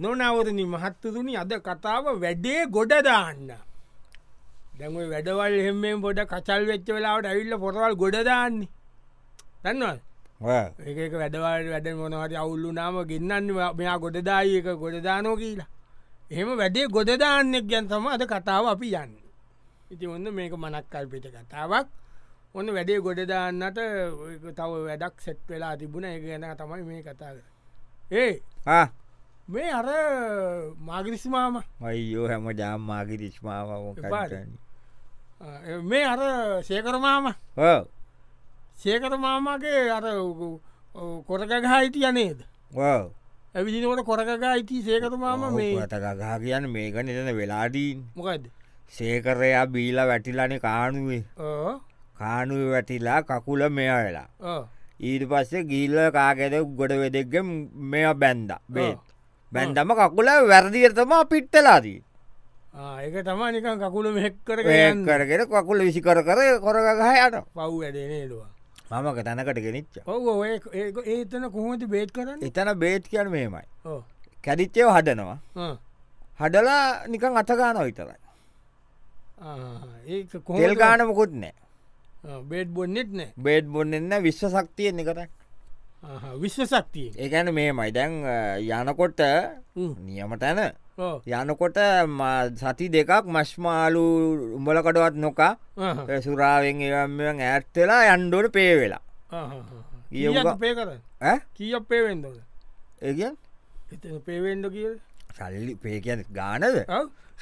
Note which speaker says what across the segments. Speaker 1: නොනවරණ මහත්තතුනි අද කතාව වැඩේ ගොඩදාන්න. දැඟ වැඩවල් එහෙමෙන් පොඩ කචල් වෙච්ච වෙලාවට ඇවිල්ල පොරවල් ගොඩදාන්නේ. දන්නවල් ඒක වැඩවල් වැඩ මොනවට අවුල්ලු නාම ගන්නන්න මෙයා ගොඩදායක ගොඩදානෝ කියලා. එහෙම වැඩේ ගොඩදාන්නෙක් ගැන් තම අද කතාව අපි යන්න. ඉති ඔන්න මේක මනක් කල්පිට කතාවක් ඔන්න වැඩේ ගොඩදාන්නට තව වැඩක් සෙට් වෙලා තිබුණ ඒ ගැන තමයි මේ කතාව. ඒ මේ අර මාගිරිස්මාම
Speaker 2: මයිෝ හැම ජාම්මාගේ රිස්්මාව
Speaker 1: එපාද? මේ අර සේකරමාම සේකරමාමගේ අර කොරගගහා හිටිය නේද ඇවිදිනකොට කොරගගා හිටී සේකරමාම මේ
Speaker 2: ඇතකගහ කියන්න මේක නිතන වෙලාදීන්
Speaker 1: මොකක්ද
Speaker 2: සේකරයා බීලා වැටිලනේ කානුවේ
Speaker 1: ඕ
Speaker 2: කානුව වැටිලා කකුල මෙය වෙලා
Speaker 1: ඕ
Speaker 2: ඊට පස්සේ ගිල්ල කාගෙද ගොඩ වෙදෙක්ග මෙය බැන්ද බේ බැන්දම කකුල වැරදිගතමා පිට්ටලාදී
Speaker 1: ආ, ඒක තමා නිකන් කකුල මෙහෙක් කර
Speaker 2: කරගෙන කකුල විසිකර කර කොරගගහ යට
Speaker 1: පව් වැඩනේලවා
Speaker 2: මමක තැනකට ගෙනනිච්ච
Speaker 1: ඔව ඒතන කොහොමති බේත් කරන්න
Speaker 2: එතන බේත් කියන මේමයි
Speaker 1: ඕ
Speaker 2: කැඩිච්චයව හදනවා
Speaker 1: ආ.
Speaker 2: හඩලා නිකං අතගාන විතරයි
Speaker 1: ආ, ඒක
Speaker 2: තෙල්
Speaker 1: කොහොම
Speaker 2: ගානමකුත් නෑ
Speaker 1: බේට් බොන්නෙත් නෑ
Speaker 2: බේඩ් බොන්නන්න විශ්ව ශක්තියෙන් එකතක්
Speaker 1: ආහා, විශ්ව සක්තිය
Speaker 2: ඒකැන මේ මයිදැන් යනකොට
Speaker 1: හ්ම්.
Speaker 2: නියම තැන
Speaker 1: ඕ
Speaker 2: යනකොට ම- සති දෙකක් මශ්මාලු උඹලකටවත් නොකා
Speaker 1: ආහා.
Speaker 2: ඒ සුරාවෙන් ඒවන් ඇත්වෙලා යන්්ඩෝට පේ වෙලා ඊයේ
Speaker 1: ඊ
Speaker 2: උග-
Speaker 1: පේ කර
Speaker 2: ඈ?
Speaker 1: කිය පේවෙන්දද
Speaker 2: ඒ
Speaker 1: එතන පේවෙන්ඩ කිය
Speaker 2: සල්ලි පේකැන ගානද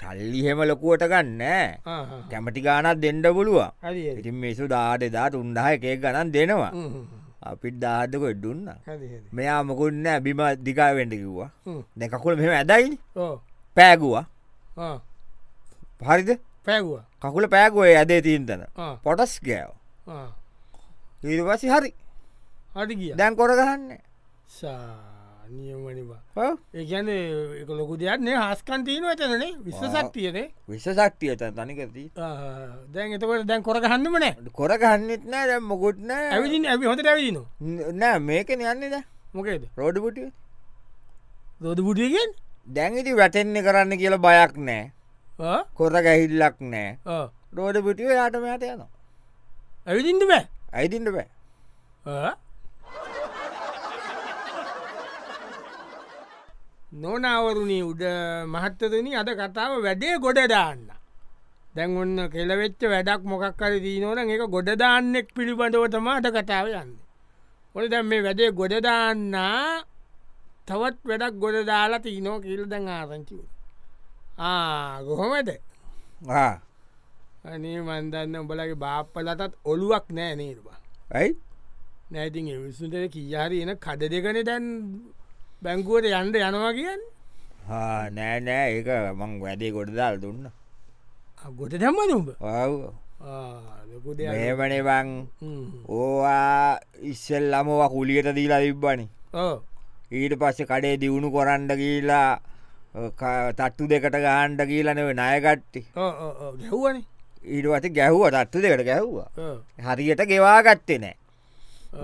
Speaker 2: සල්ලිහෙම ලොකුවට ගන්න කැමටි ගානත් දෙන්ඩ පුළුවන්
Speaker 1: හරි හරි.
Speaker 2: ඉතින් මිසු දාට දා උන්ඩහ එකේ ගණන් දෙනවා
Speaker 1: හ්ම්, හ්ම්, හ්ම්.
Speaker 2: අපිත් දාදකො ඩුන්න
Speaker 1: හරි හරි.
Speaker 2: මෙයා මොකුන්න බිම දිකාවෙන්ඩ කිව්වා
Speaker 1: හ්ම්.
Speaker 2: දෙකකුල මෙම ඇදයිනි
Speaker 1: ඕ
Speaker 2: පෑගුවා
Speaker 1: ආ.
Speaker 2: හරිද
Speaker 1: පෑගුවා
Speaker 2: කකුල පෑගුවේ ඇදේ තිීන්තන
Speaker 1: ආ,
Speaker 2: පොටස් ගෑව
Speaker 1: ආ.
Speaker 2: ඊටවසි හරි
Speaker 1: හරි ගිය
Speaker 2: දැන් කොරගහන්න
Speaker 1: සා නියමනිවා ඒගැන එක ලොකු දෙයක්න්නේ හස්කන්ටීන ඇතනේ විශ්ව
Speaker 2: ආ.
Speaker 1: සක්තියනේ
Speaker 2: විශ්ව ශක්තිය ඇත තනිකරදී
Speaker 1: දැන් එතකට දැන් කොරගහන්නම නෑ
Speaker 2: කොරගහන්නෙත් නෑ දැම් මොකුත්න
Speaker 1: ඇවිදින් ඇවි හොට ඇවිදින
Speaker 2: නෑ මේකන යන්නේද
Speaker 1: මොකේද
Speaker 2: රෝඩපුටි
Speaker 1: දෝද බුටියගෙන්
Speaker 2: දැන්ඉති වැටෙන්නේ කරන්න කියලා බයක් නෑ කොර ගැහිල්ලක් නෑ රෝඩපුටිය යාටමයට යනවා
Speaker 1: ඇවිදින්ද බෑ
Speaker 2: ඇයිතින්ට බෑ
Speaker 1: ආ? නොනවරුණී උඩ මහත්තදන අද කතාව වැඩේ ගොඩදාන්න. දැන් ඔන්න කෙලවෙච්ච වැඩක් මොකක්කර දීනෝන එක ගොඩදාන්නෙක් පිළිබඳව තම අද කතාව යන්න. ඔොල දැම් මේ වැඩේ ගොඩදාන්න තවත් වැඩක් ගොඩදාලා තිීනෝ කියල් දැන් ආරංචිව. ආ ගොහොමද
Speaker 2: ආ,
Speaker 1: අනේ මන්දන්න උඹලගේ බාප්පලතත් ඔලුවක් නෑ නේරවා.
Speaker 2: ඇයි
Speaker 1: නැති විසුන්ට කියාරි එන කඩ දෙකන දැන් බැංකුවට යන්ඩ යනවා කියන්න
Speaker 2: ආ, නෑ නෑ ඒක මං වැඩේ ගොඩදාල් දුන්න
Speaker 1: ගොට දැම්ම නුඹ
Speaker 2: ඔව්
Speaker 1: ලොකු දෙයක්.
Speaker 2: මේමනේ බං
Speaker 1: හ්ම්.
Speaker 2: ඕවා ඉස්සල්ලමව කුලියට දීලා තිබ්බනි
Speaker 1: ඔව්.
Speaker 2: ඊට පස්සේ කඩේ දියුණු කොරන්ඩ කියලා අ, ක- තට්ටු දෙකට ගහන්ඩ කියලනව නායකට්ටි
Speaker 1: ඔව්, ඔව්, ඔව්. ගැහුවනේ
Speaker 2: ඊටවස ගැහ්ව තත්තු දෙකට ගැහ්වා
Speaker 1: ඔව්.
Speaker 2: හරියට ගෙවාගත්තේ නෑ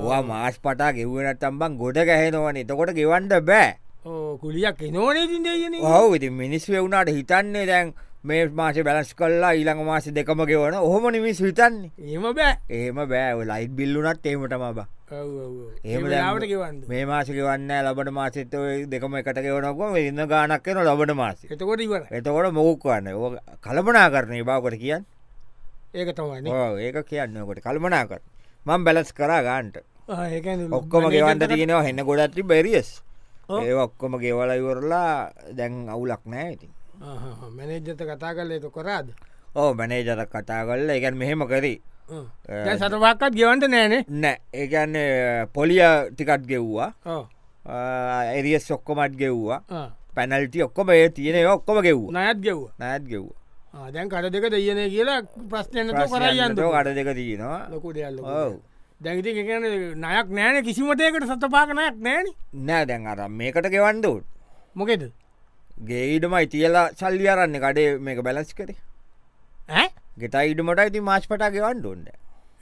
Speaker 2: ඕවා මාස් පටා ගෙවනට තම්බන් ගොඩ ගැහෙනවන එතකොට ගෙවන්ඩ බෑ
Speaker 1: ඔව්, කුලියක් එනෝනේතින් දෙයන
Speaker 2: ඔහු ඉති මිනිස්ව වුණට හිතන්නේ දැන් මේ මාස බැලස් කල්ලා ඊළඟ මාස දෙකම ගෙවන ඔහොම නිමිස් හිතන්නේ
Speaker 1: ඒම බෑ
Speaker 2: ඒම බෑ ලයිට් බිල්ලුනත් ඒමට මබ
Speaker 1: ඔව්, ඔව්, ඔව්.
Speaker 2: එහෙම
Speaker 1: ඒ
Speaker 2: දැන්
Speaker 1: වෙලාවට ගෙවන්ද
Speaker 2: මේ මාසික වන්න ලබට මාසිත දෙකම එකට ගෙවනකො ඉන්න ගානක් කෙන ලබට මාසි
Speaker 1: එතකොට ඉවර
Speaker 2: එතකොට මොකුක් වන්න ඕ කළමනා කරන බාවට කියන්න
Speaker 1: ඒක තමයි
Speaker 2: ඕ ඒක කියන්නකොට කල්මනා කර මං බැලස් කරා ගාන්ට
Speaker 1: ඒක
Speaker 2: ඔක්කොම ගෙවන්ට තියෙනවා හෙන්න ගොඩත්‍රි බැරිස් ඒ ඔක්කොම ගෙවල ඉවරලා දැන් අවුලක් නෑ ඉති
Speaker 1: මැනෙජ්ජත කතා කරල එක කොරාද
Speaker 2: ඕ මැනේජර කතා කල්ල එකන් මෙහෙම කරී
Speaker 1: ඔව්.
Speaker 2: ඒ-
Speaker 1: දැන් සටවක්කත් ගෙවන්ට නෑනේ
Speaker 2: නෑ ඒකන්න පොලිය ටිකට් ගෙව්වා
Speaker 1: ඔව්.
Speaker 2: එරියස් ඔක්කොමත් ගෙව්වා
Speaker 1: ආ.
Speaker 2: පැනල්ටි ඔක්කොම ඒ තියෙන ඒවා ඔක්කොම ගෙව්වා
Speaker 1: ණයත් ගෙව්වා
Speaker 2: නෑත් ගෙව්වා
Speaker 1: ආ, දැන් කඩ දෙක දෙයන කියලා ප්‍රශ්නයන කරයන්න
Speaker 2: ප්‍රශ්නයන්ට කට දෙක තියෙනවා
Speaker 1: ලොකු දෙයල්ල
Speaker 2: ඔව්
Speaker 1: දැවිති එකන නයක් නෑන කිසිමටයකට සතපාකනයක් නෑන
Speaker 2: නෑ දැන් අර මේකට ගෙවන්ඩුන්
Speaker 1: මොකෙද
Speaker 2: ගේඩමයි තියලා සල්ලි අරන්න කඩේ මේක බැලස් කරේ
Speaker 1: ඇ
Speaker 2: ගෙට ඉඩමට ඇති මාශ් පටා ගෙවන්ඩුන්ට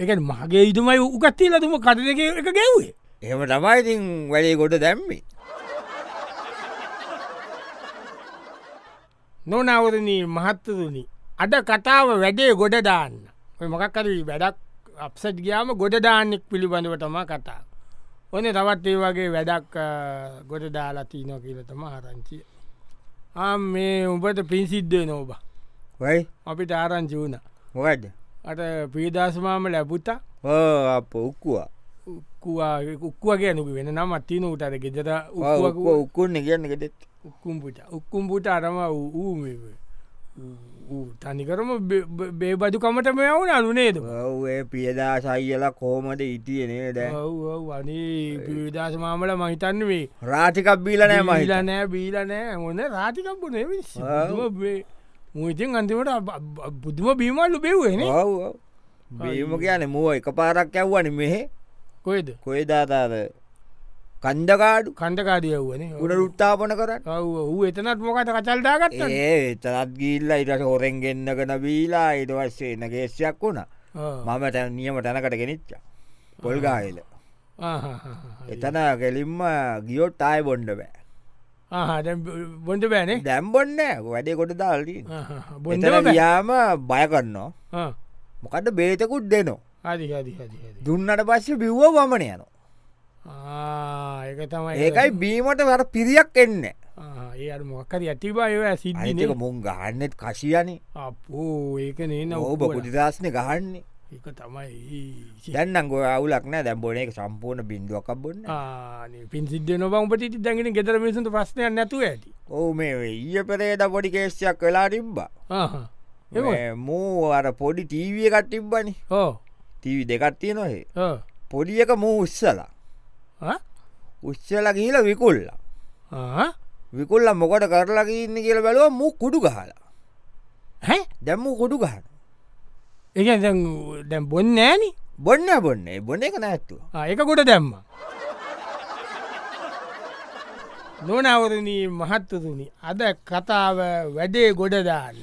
Speaker 1: එක මගේ ඉතුමයි උගත්තිී ලතුම කට දෙක එක ගැව්ේ
Speaker 2: එහෙම තමයි ඉතින් වැඩේ ගොඩ දැම්මි
Speaker 1: නොනවරණී මහත්තතුනි අද කතාව වැඩේ ගොඩ දාන්න ඔය මොකක්කරී වැඩක් අපසට් ගයාම ගොඩ දාන්නෙක් පිළිබඳව තම කතා ඕන තවත් ඒ වගේ වැඩක් ගොඩ දාලති නො කියලතම ආරංචිය ආ මේ උඹට පින්සිද්ධය නෝබ
Speaker 2: වයි
Speaker 1: අපිට ආරංචි වුණ
Speaker 2: මොකඩ
Speaker 1: අට පීදස්මාම ලැබුතා
Speaker 2: අප උක්වා
Speaker 1: උක්කුව ගැනක වෙන නම් අත්තින උටර ගෙදර
Speaker 2: උක්කුන්න කියන්න ගෙටෙත්
Speaker 1: උක්කුම්පුට උක්කුම්පුට අරම වූ තනිකරම බේබදුකමට මෙවුන අනුනේද
Speaker 2: ඒ පියදා සයිියල කෝමට ඉතියනේ දැ
Speaker 1: වනේ පිවිදශමාමල මහිතන්න වේ
Speaker 2: රාටිකක් බීලනෑ මහිත
Speaker 1: මහිලනෑ බීලනෑ හොන රාටිකක්පු නේ මුතින් අන්තිමට අප- බුදුම බීමල්ලු බෙව්වෙන
Speaker 2: බීම කියන මුව එක පාරක් ඇව්වන මෙහෙ
Speaker 1: කොයිද
Speaker 2: කොයදාතාද කන්දකාඩු
Speaker 1: කණ්ඩකාඩිය වුවන
Speaker 2: උඩ රුට්ටාපන කරන්න
Speaker 1: ඔහු එතනත් මොකට කචල්දාගත්ත
Speaker 2: ඒ තරත් ගිල්ල ඉට හොරෙන් ගෙන්න්නකන බීලා ඉට වස්සේ එන ගේෙස්යක් වුණ මම තැන නියම තැනකට ගෙනනිච්ච පොල්ගාහිල එතන කෙලින්ම ගියොට් අය බොන්්ඩ බෑ
Speaker 1: බොන්ඩ බෑනේ
Speaker 2: දැම්බොන්න වැඩේ කොට දාල්ටී
Speaker 1: බොන්ඩ
Speaker 2: එතන ගියාම බය කරන්නවා මොකට බේතකුත් දෙනවා
Speaker 1: හරිහරිහරි
Speaker 2: දුන්නට පස්සේ බිව්ව වමන යනවා
Speaker 1: ඒක තමයි
Speaker 2: ඒකයි බීමට වර පිරියක් එන්න
Speaker 1: ආ, ඒ අර මොක්කරි ඇතිබා ඒව
Speaker 2: අනික
Speaker 1: සිද්ධින
Speaker 2: මුන් ගහන්නෙත් කශයනේ
Speaker 1: අපෝ ඒක නේන
Speaker 2: ඕබ කුඩිදස්න ගහන්නේ
Speaker 1: එක තමයි
Speaker 2: දැන්නංග අවුලක්න දැම්බොන එක සම්පූර්ණ බින්දුවක් බොන්න
Speaker 1: පින් සිද්ධ නොබංපටි දැගෙන ගෙතර මිසුට ප්‍රශ්නයක් නැතුව ඇති
Speaker 2: ඕ මේ ඊය පෙරේද පොඩි කේෂයක් වෙලා ටිම්බා
Speaker 1: එම
Speaker 2: මූ අර පොඩි ටීවිය එකක් ටිම්බනි
Speaker 1: ඕ
Speaker 2: ටීවි දෙකත්තිය නොහේ පොඩි එක මූ උත්සලා උච්චල ගීල විකුල්ලා විකුල්ල මොකට කරලා ඉන්න කියල බැලුව මු කුඩු ගහලා
Speaker 1: හැ
Speaker 2: දැම්ම කුඩු ගහන
Speaker 1: එක දැම් බොන්න ෑනි
Speaker 2: බොන්න බොන්න ඒ බොන එක නැත්තුව
Speaker 1: ඒක ගොඩ දැම්ම නොනවරණී මහත්තතුනි අද කතාව වැඩේ ගොඩ දාන්න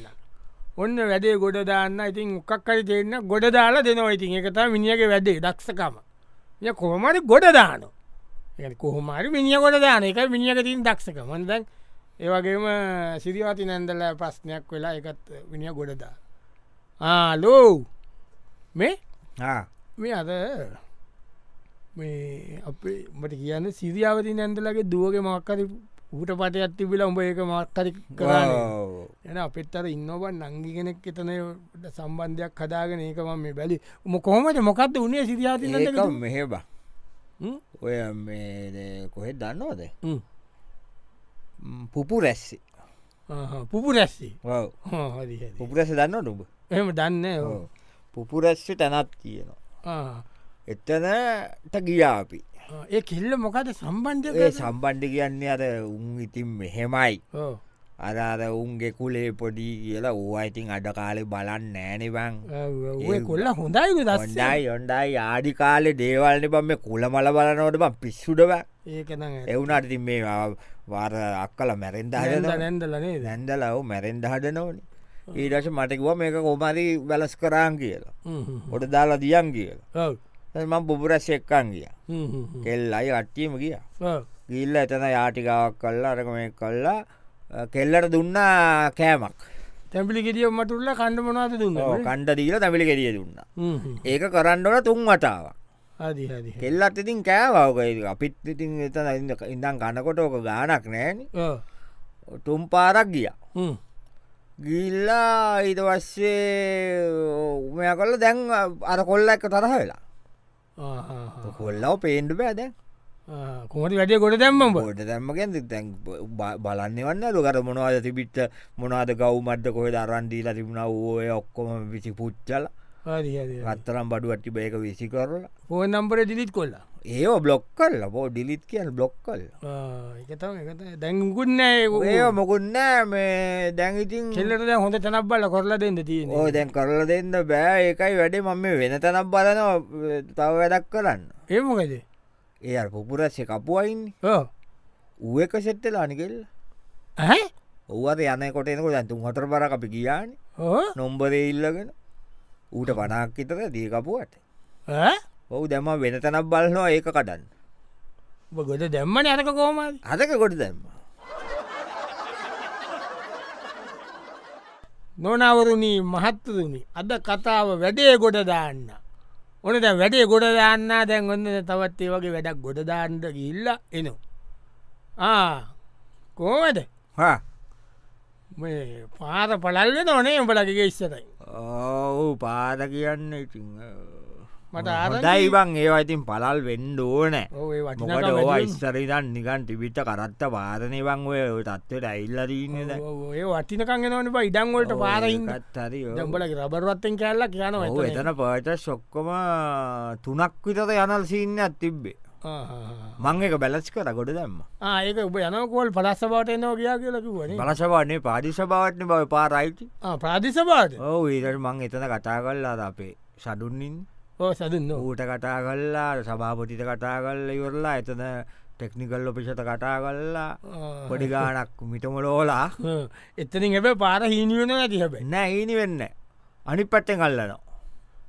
Speaker 1: ඔන්න වැඩේ ගොඩ දාන්න ඉතින් උක්කරි දෙන්න ගොඩ දාලා දෙනවා ඉතින් එකතා මිනිියගේ වැඩේ දක්ෂකම ය කොහමරි ගොඩ දාන කොහමරි මිනිිය ගොඩ දාන එක මිනිියක තින් දක්ෂක මොදැන් ඒවගේම සිරිවති නැන්දල ප්‍රශ්නයක් වෙලා එකත් මිනිිය ගොඩදා ආලෝ මේ මේ අද මේ අපේ මට කියන්න සිරියාවති නැන්දලගේ දුවගේ මක්කරි ඌට පට ඇත්තිබිල උඹ ඒක මක්කරි කරන්න එන අපිත් අර ඉන්නවන් නංගි කෙනෙක් එතනට සම්බන්ධයක් හදාගෙන ඒකම මේ බැලි උම කොහමට මොකක්ද උනේ සිරියාති
Speaker 2: ඒක මෙහෙබ ඔය මේ කොහෙ දන්නවද ම්, පුපු රැස්සේ
Speaker 1: පුපු රැස්සේ
Speaker 2: ඔව්.
Speaker 1: හරි හරි.
Speaker 2: පුපු රැස දන්න නුබ
Speaker 1: එහෙම දන්න ඕ.
Speaker 2: පුපු රැස්සේ තැනත් කියනවා
Speaker 1: ආ.
Speaker 2: එතනට ගියාපි
Speaker 1: ආ, ඒ කෙල්ල මොකද සම්බන්ධය
Speaker 2: ඒ සම්බන්්ඩි කියන්නේ අර උන් ඉතින් මෙහෙමයි අරාර උන්ගේ කුලේ පොඩි කියලා ඕ අයිතින් අඩ කාලෙ බලන්න නෑනිබං
Speaker 1: ඔය කොල්ල හොඳයික දස්ස
Speaker 2: ඔොඩයි ඔොන්ඩයි ආඩි කාලෙ දේවල්න බම් මේ කුල මල බලනවට බම් පිස්සුඩව
Speaker 1: ඒකන
Speaker 2: එවුනටති මේ වාර අක්කල මැරෙන්ද හදන
Speaker 1: නැන්දලනේ දැ
Speaker 2: දැන්දලව මැරෙන්ද හදනවන ඊටස මටකුව මේක කොමරි වැලස් කරාන් කියලා ගොඩ දාලා දියන් කියලා ම බුබරැස් එක්කන් ගිය කෙල් අයි අට්ටියම ගිය ගිල්ල එතන යාටිකාවක් කල්ලා අරක මේ කල්ලා අ, කෙල්ලට දුන්නා කෑමක්
Speaker 1: තැපිලි ගෙටිය මටුල්ල කණ්ඩ මනාත දුන්න
Speaker 2: කණ්ඩ දීල තැමිලි කෙරිය දුන්න
Speaker 1: හ්ම්.
Speaker 2: ඒක කරන්නට තුන් වටාවක්
Speaker 1: හරි හරි
Speaker 2: කෙල්ලත් ඉතින් කෑවෝකයි අපිත් ඉතින් එතන ඉඳ- ඉඳන් ගණකොට ඕක ගානක් නෑන
Speaker 1: ඔව්.
Speaker 2: තුම් පාරක් ගිය
Speaker 1: හ්ම්.
Speaker 2: ගිල්ලා ඊට වස්සේ උමය කල දැන් අර කොල්ල එක තරහ වෙලා
Speaker 1: ආ, ආ, ආ.
Speaker 2: කොල්ලව පේන්ඩ බෑද
Speaker 1: ආ, කොමට වැඩිය ගොඩ දැම්මම් බ
Speaker 2: බොඩ දැම්මගෙන් තැන් බලන්න වන්න ලොකර මොනවාද තිබිට මොනාද ගව් මඩ්ඩ කොහෙ දරන්ඩීලා තිබුණ ඕය ඔක්කොම විසි පුච්චල
Speaker 1: හරි හරි
Speaker 2: රත්තරම් බඩු ඇටි බේක විසි කරලා
Speaker 1: පෝ නම්බර දිලිත් කොල්ලා
Speaker 2: ඒ බ්ලොක් කල්ල බෝ ඩිලිත් කියන්න බ්ලොක් කල්ල
Speaker 1: එකතම එක දැංගුන්නෑ
Speaker 2: ඒ මොකුන්න මේ දැන්ඉතින්
Speaker 1: කෙල්ලට දැන් හොඳ තනක් බල කොරලා දෙන්න තියෙන
Speaker 2: ඕ දැන් කරල දෙන්න බෑ ඒකයි වැඩේ මම මේ වෙන තනක් බලන තව වැඩක් කරන්න
Speaker 1: ඒමකද
Speaker 2: ඒ පුපුරස්ස කපුුවයින් ඌක සෙට්ටල අනිකෙල් ඔවද යන කොටයනක දැන්තුන් හොතර පර අපි කියාන නොම්බරේ ඉල්ලගෙන ඌට පනාක් ඉතර දීකපුුවට ඔහු දැම වෙන තනක් බලනවා ඒක කඩන්න
Speaker 1: ගොඩ දැම්මන අරක කෝමද
Speaker 2: හදක කොට දැම්ම
Speaker 1: නොනවරුණී මහත්තතුනි අද කතාව වැඩේ ගොඩ දාන්න. ඕන දැ වැඩේ ගොඩ දාන්න දැන් ඔන්න තවත් ඒ වගේ වැඩක් ගොඩ දාන්නට ගිල්ල එනවා. කෝමද මේ පාර පලල්ල නොනේ උඹලගේ ඉස්සරයි
Speaker 2: ඕ පාර කියන්න ඉතිං
Speaker 1: මට අර
Speaker 2: දයිවන් ඒවා ඉතින් පලල් වෙන්ඩ ඕනෑ
Speaker 1: ඔය
Speaker 2: මොකට ඕවා ඉස්සරිදන් නිකන් ටිබිට කරත්ත පාරණයවන් ඔය ඔය තත්වට ඇල්ලරීනද
Speaker 1: ඒ වටිනකං එනවන ඉඩංවලට පාරහින්
Speaker 2: ගත්හරි
Speaker 1: දම්ඹලගේ රබරවත්තෙන් කැල්ල කියනවා එතන.
Speaker 2: එතන පට සොක්කොම තුනක් විතත යනල් සිීන්න ඇතිබ්බේ
Speaker 1: ආ.
Speaker 2: මං එක බැලස් කර ගොඩ දැම්ම
Speaker 1: ආ, ඒක ඔබ යනකෝල් පලස්සබට එනවා ගියා කියලකිවන
Speaker 2: බලසවාන්නේ පාදිශභාවටන බව පාරයිති
Speaker 1: ප්‍රාධිසපාට
Speaker 2: ඕ ඊට මං එතන කටා කල්ලාද අපේ සඩුන්නින්
Speaker 1: ඕ සදන්න
Speaker 2: ඌට කටා කල්ලා සභාපතිත කටා කල්ල ඉවරලා එතන ටෙක්නිකල් ඔපිසත කටා කල්ලා පොඩි ගානක් මිටමලෝලා
Speaker 1: එතනින් එබ පාර හිනිියන ඇති හැබැයි
Speaker 2: එන්න ඒනි වෙන්න අනි පට්ටෙන් කල්ලනවා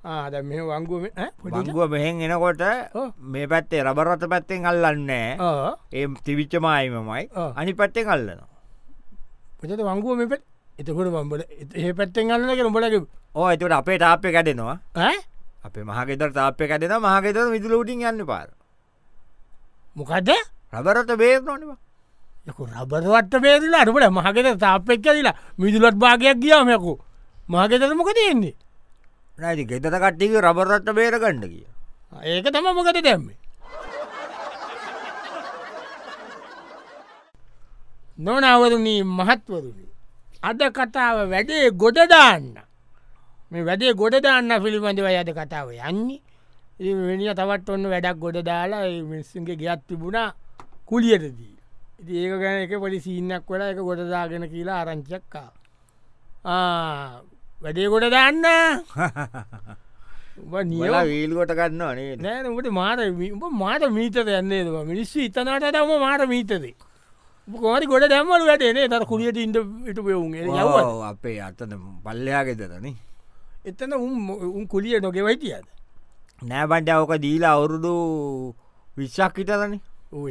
Speaker 1: ආද මේ වංගුව
Speaker 2: බංගුව මෙහෙන් එනකොට
Speaker 1: ඔව්.
Speaker 2: මේ පැත්තේ රබරත පැත්තෙන් අල්ලන්නෑ ඒ තිවිච්ච මායිමමයි
Speaker 1: ඔව්.
Speaker 2: අනි පට්ටෙන් කල්ලනවා
Speaker 1: පචත වංගුව මෙ පෙට එතකොට මම්බල ඒ පැත්තෙන් අන්නක නොඹලක
Speaker 2: ඕ එතුට අපේ තාපය කැඩෙනවා අපේ මහගෙතර තාපය කැඩෙන මහගෙතර විදුල උටින් යන්න පාර
Speaker 1: මොකද
Speaker 2: රබරත බේරනොනවා
Speaker 1: යකු රබරවත්ත පේදලා අටකට මහගෙත තාපෙක් ඇදිලා මිදුලොත් භාගයක් ගියාමයකු මහගෙතර මොක තියෙන්නේ
Speaker 2: නැති ගෙතත කට්ටික රබරත්ත බේරගණ්ඩ කිය
Speaker 1: ආ, ඒක තම මොකද දැම්මේ නොනවරණී මහත්වරුණ අද කතාව වැඩේ ගොඩදාන්න මේ වැඩේ ගොඩදාන්න පිළිබඳව අද කතාව යන්නේ ඒ වෙනි තවත් ඔන්න වැඩක් ගොඩ දාලා ඒ මිනිස්සුන්ගේ ගියත් තිබුණා කුලියටදී ඉති ඒක ගැන එක පොලි සිීන්නක් වෙලා එක ගොඩදාගෙන කියලා ආරංචක්කා වැඩේ ගොඩ දාන්න උඹ නියම
Speaker 2: නියලා වීල්ගොට ගන්න අනේ
Speaker 1: නෑ උට මාර උඹ මාට මීතද යන්නේ දවා මිනිස්සු ඉතනට දම මාට මීතදේ කොමරි ගොඩ දැම්මල වැටනේ තර කුලියට ඉන්ට ඉට පෙවුන් යව
Speaker 2: ඔව්, අපේ අතන පල්ලයා ගෙතරන
Speaker 1: එතන උන් උන් කුලිය නොගෙවයිතියද
Speaker 2: නෑබන්ඩ ඕක දීලා අවුරුදු විශ්ක් හිතරන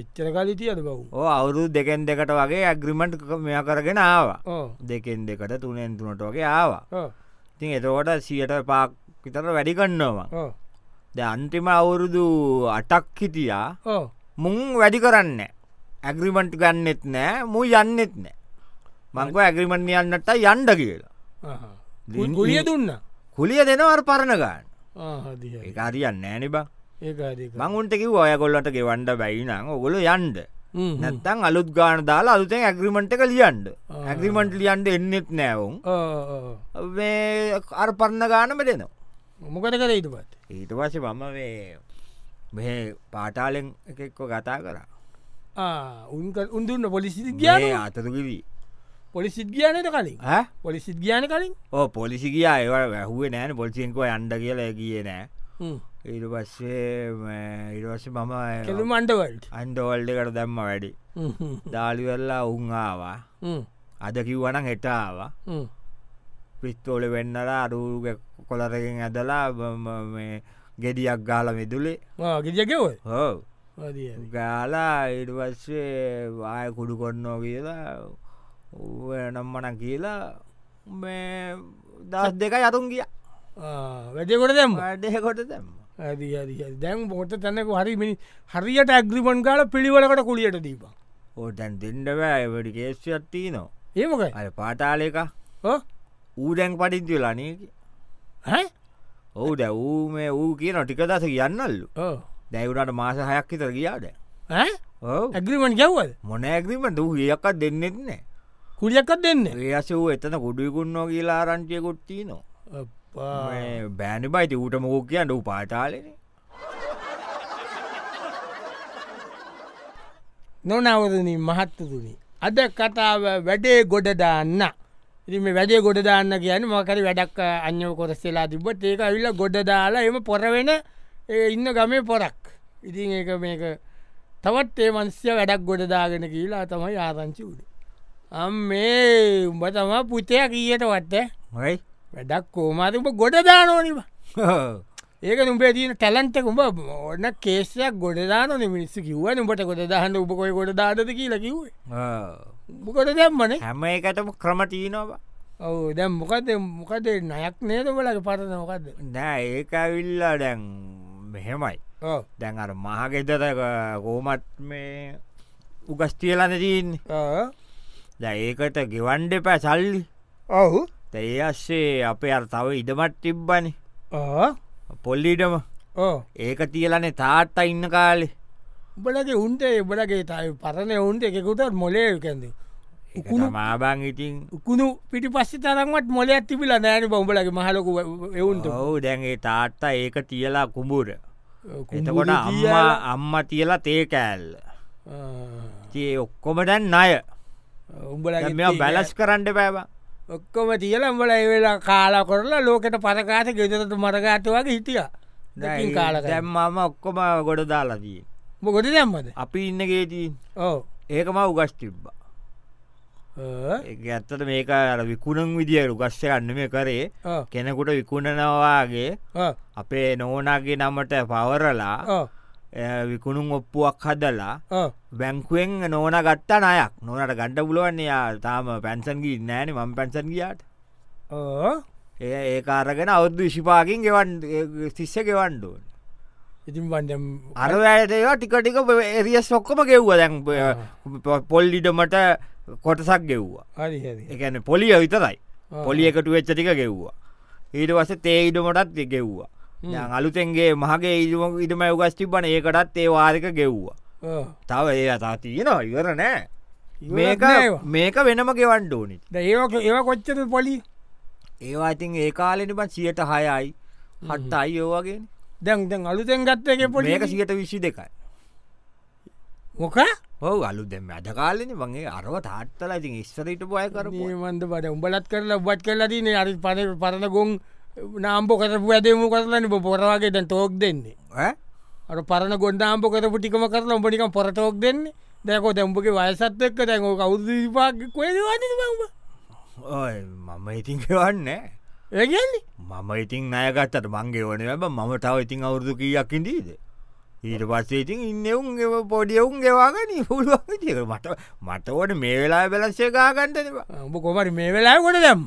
Speaker 1: එච්චර කලිතියද බවු
Speaker 2: ඕ අවුරුදු දෙකෙන් දෙකට වගේ ඇග්‍රිමට් මෙයා කරගෙන ආවා
Speaker 1: ඕ
Speaker 2: දෙකෙන් දෙකට තුනෙන් තුනට වගේ ආවා තින් එතකොට සියට පාක් විතර වැඩිගන්නවා
Speaker 1: ඕ
Speaker 2: ද අන්තිම අවුරුදු අටක් හිටියා
Speaker 1: ඕ
Speaker 2: මුං වැඩි කරන්න ඇග්‍රිමට් ගන්නෙත් නෑ මු යන්නෙත් නෑ මංකව ඇග්‍රිමට් යන්නට යන්ඩ කියලා ලින්-
Speaker 1: ගුලිය දුන්න
Speaker 2: කුලිය දෙනවර පරණ ගන්න
Speaker 1: දිය
Speaker 2: එක හරියන්න ෑනි බං
Speaker 1: ඒකාදක
Speaker 2: මංඋන්ටකිව ඔයකොල්ලට ගෙවන්ඩ බැයිනං ඔගොල යන්ඩ නැත්තං අලුත් ගාන දාලා අලුතෙන් ඇග්‍රිමට් එක ලියන්ඩ
Speaker 1: ආ.
Speaker 2: ඇග්‍රිමට් ලියන්ඩ එන්නෙත් නෑවුම් අර පරණ ගානම දෙනවා
Speaker 1: මොකද කර ඉතු පත්
Speaker 2: ඊට පස මම වේ මෙ පාටාලෙන් එකෙක්කො කතා කරා
Speaker 1: උන් උන්දුන්න පොලිසිත්
Speaker 2: ගිය
Speaker 1: ගාන
Speaker 2: අතතුකිවී
Speaker 1: පොලිසිත් ගානයට කලින්
Speaker 2: හැ
Speaker 1: පොලිසිත් ගාන කලින්
Speaker 2: ඕ පොලිසි කියා ඒව වැැහුවේ නෑන පොලිසිෙන්කෝ අන්ඩ කියලා කිය නෑ
Speaker 1: හ්ම්.
Speaker 2: ඉඩ පස්සේ ඉඩවස මම
Speaker 1: කෙළුම් අන්ඩවල්ට
Speaker 2: අන්ඩෝල්ඩකට දැම්ම වැඩි දාලිවෙල්ලා උන්ආවා අද කිව්වනං හෙටාවා පිස්තෝල වෙන්නලා අරුග කොලරකින් ඇදලා බ- ම- මේ ගෙඩියක් ගාල මිදුලේ
Speaker 1: ගෙජකව
Speaker 2: හෝ ගාලා ඉඩවස්සේ වාය කුඩු කොන්නෝ කියලා ඌ නම්මන කියලා මේ දස් දෙක යතුන් ගිය
Speaker 1: වැඩකොට දැම
Speaker 2: වැඩෙකොට දැම්ම
Speaker 1: දැම් පොට තැනක හරිමනි හරියට ඇග්‍රිමන් කාල පිළිවලකට කුලියට දීප
Speaker 2: ඕටැන් දෙෙන්ඩවෑ වැඩි කේස්යත්තිී නො
Speaker 1: ඒමකයි
Speaker 2: අය පාටාලක ඌඩැන් පටින්ති ලනයකි ඔහු දැවූ මේ වූ කියන ටික දස කියන්නල්ලු දැවුරට මාස හයක් හිතර කියාද ඔව
Speaker 1: ඇග්‍රිමන් ගැව්වද
Speaker 2: මොනෑගීම දූ ඒක් දෙන්නෙත්නෑ
Speaker 1: කුලියක්කත් දෙන්න
Speaker 2: ඒස වූ එතන ගොඩිකුන්නෝ කියලා රංචයකොට්ටී නො බෑනි බයිති ඌට මොකෝ කියන්න ඌ පාටාලන
Speaker 1: නොනවරණී මහත්තතුනි අද කතාව වැඩේ ගොඩ දාන්න ඉතින් මේ වැඩේ ගොඩ දාන්න කියන මකරි වැඩක් අන්‍යව කොරස්සෙලා තිබට ඒක ඇවිල්ල ගොඩ දාලා එම පොරවෙන ඒ ඉන්න ගමේ පොරක් ඉතින් ඒක මේක තවත් ඒ මන්ස්‍ය වැඩක් ගොඩදාගෙන කියලා තමයි ආරංචි වුණේ අම් මේ උඹ තම පුතය කීයට වට
Speaker 2: හයි
Speaker 1: වැඩක් කෝමාතිම ගොඩ දානෝනිවා ඒක උඹේ දීන ටැලන්ට උඹ ඕන්න කේෂයක් ගොඩදාන මිනිස්ස කිවන උඹට ගොඩදාහන්න උපකොයි ගොඩදාද කියලා කිවේ උබකොට දැම්මන
Speaker 2: හැම එකටම ක්‍රමටීනවා
Speaker 1: ඔව දැම් මොකද මොකද නයක් නේද වලට පරන මොකද
Speaker 2: නෑ ඒකවිල්ලා දැන් මෙහෙමයි
Speaker 1: ඕ
Speaker 2: දැන් අර මහගෙදර කෝමත් මේ උගස්තියලන දීන් ද ඒකට ගෙවන්ඩ පැ සල්ලි
Speaker 1: ඔහු
Speaker 2: තැයි අස්සේ අපේ අර තව ඉඩමත් තිබ්බනි
Speaker 1: ඕ
Speaker 2: පොල්ලිඩම
Speaker 1: ඕ
Speaker 2: ඒක තියලනේ තාත්තා ඉන්න කාලෙ
Speaker 1: උඹලගේ උන්ට එබලගේ තයි පරණ ඔවුන්ට එකකුතත් මොලේ කැද උකුණු
Speaker 2: මාබං ඉතින්
Speaker 1: උකුණු පිටි පස්සි තරන්වත් මොල ඇතිබිල නෑන බඹලගේ මහලොක එවුන්ට
Speaker 2: ඔවු දැන්ගේ තාත්තා ඒක තියලා කුඹුර එතකොට අම්මා අම්ම තියලා තේකෑල්ල තිය ඔක්කොමටැන් අය
Speaker 1: උඹල
Speaker 2: මෙ බැලස් කරන්න බෑවා
Speaker 1: ඔක්කොම තියල උඹල ඒවෙලා කාලා කරලා ලෝකට පරකාත ගෙදරට මරගාත වගේ හිටිය දැකින් කාලක
Speaker 2: දැම්මම ඔක්කොම ගොඩ දාලාදී
Speaker 1: ගොඩ දැම්මද
Speaker 2: අපි ඉන්න ගේතින්
Speaker 1: ඕ
Speaker 2: ඒකම උගස් තිබ්බා ඒක ඇත්තට මේක අර විකුණන් විදිියට උගස්ස ගන්න මේ කරේ කෙනෙකුට විකුණනවාගේ අපේ නෝනාගේ නමට පවරලා එය විකුණුම් ඔප්පුුවක් හදලා බැංකුවෙන් නෝන ගත්තා නයක් නොනට ගණ්ඩ පුලුවන්නේ තාම පැන්සන්ගී නෑන මම පැන්සන් ගියාට එය ඒකාරගෙන අවුදු විශිපාකින් ගෙවන් තිස්ස ගෙවන්ඩුවන්
Speaker 1: ඉතින් බන්ඩම්
Speaker 2: අරවැයටඒවා ටිකටික එරිය සොක්කම ගෙව්ව දැන් පොල්ලිඩමට කොටසක් ගෙව්වා
Speaker 1: හරි
Speaker 2: එකන පොලිය විතරයි පොලි එකට වෙච්ච ටික ගෙව්වා ඊට වස තේ ඉඩමටත් ගෙව්වා දැන් අලුතෙන්ගේ මහගේ ඉඩම ඉඩම උගස්ටිබන ඒකටත් ඒ වාරික ගෙව්වා තව ඒ අතා තියෙනවා ඉවර නෑ මේක මේක වෙනම ගෙවන්ඩ ඕනිත්
Speaker 1: ඒක ඒව කොච්චද පොලි
Speaker 2: ඒවා ඉතින් ඒ කාලෙනිබත් සියට හයයි හට්ට අයි ඒවාගේ
Speaker 1: දැන් දැන් අලුතෙන් ගත්ත එක පොලි
Speaker 2: මේක සියට විශ්ි දෙකයි
Speaker 1: මොක
Speaker 2: ඔව අලු දෙම අද කාලෙන වගේ අරව තාත්තල ඉතින් ඉස්සරට පොය කර
Speaker 1: මන්ද බට උඹලත් කරලා බත් කරලා තින අරි පන පරණ ගොන් නාම්පෝ කරපු ඇදේම කරලන්න පොරවාගේ දැන් තෝක් දෙන්නේ අර පරණ ගොඩාම්ප කරපු ටිකම කරන උඹනික පොරටෝක් දෙන්නේ දැකෝ දැම්පගේ වයසත් එක්ක දැන් කවුදපාක් කොේදවාන බ
Speaker 2: මම ඉතින් ගෙවන්න
Speaker 1: ඒගන්නේ
Speaker 2: මම ඉතින් අයගත්තට මංගේ ඕන බ මම තව ඉතින් අවුරදු කියයක්කින්දීද ඊට පස්සේ ඉතින් ඉන්නවුන් ගෙව පොඩියවුන් ගෙවාගන පුළුවන් විදික මට මට ඕට මේ වෙලා බැලස්සේකාගන්ටනවා
Speaker 1: උඹ කොමරි මේ වෙලා ගොඩ දැම්ම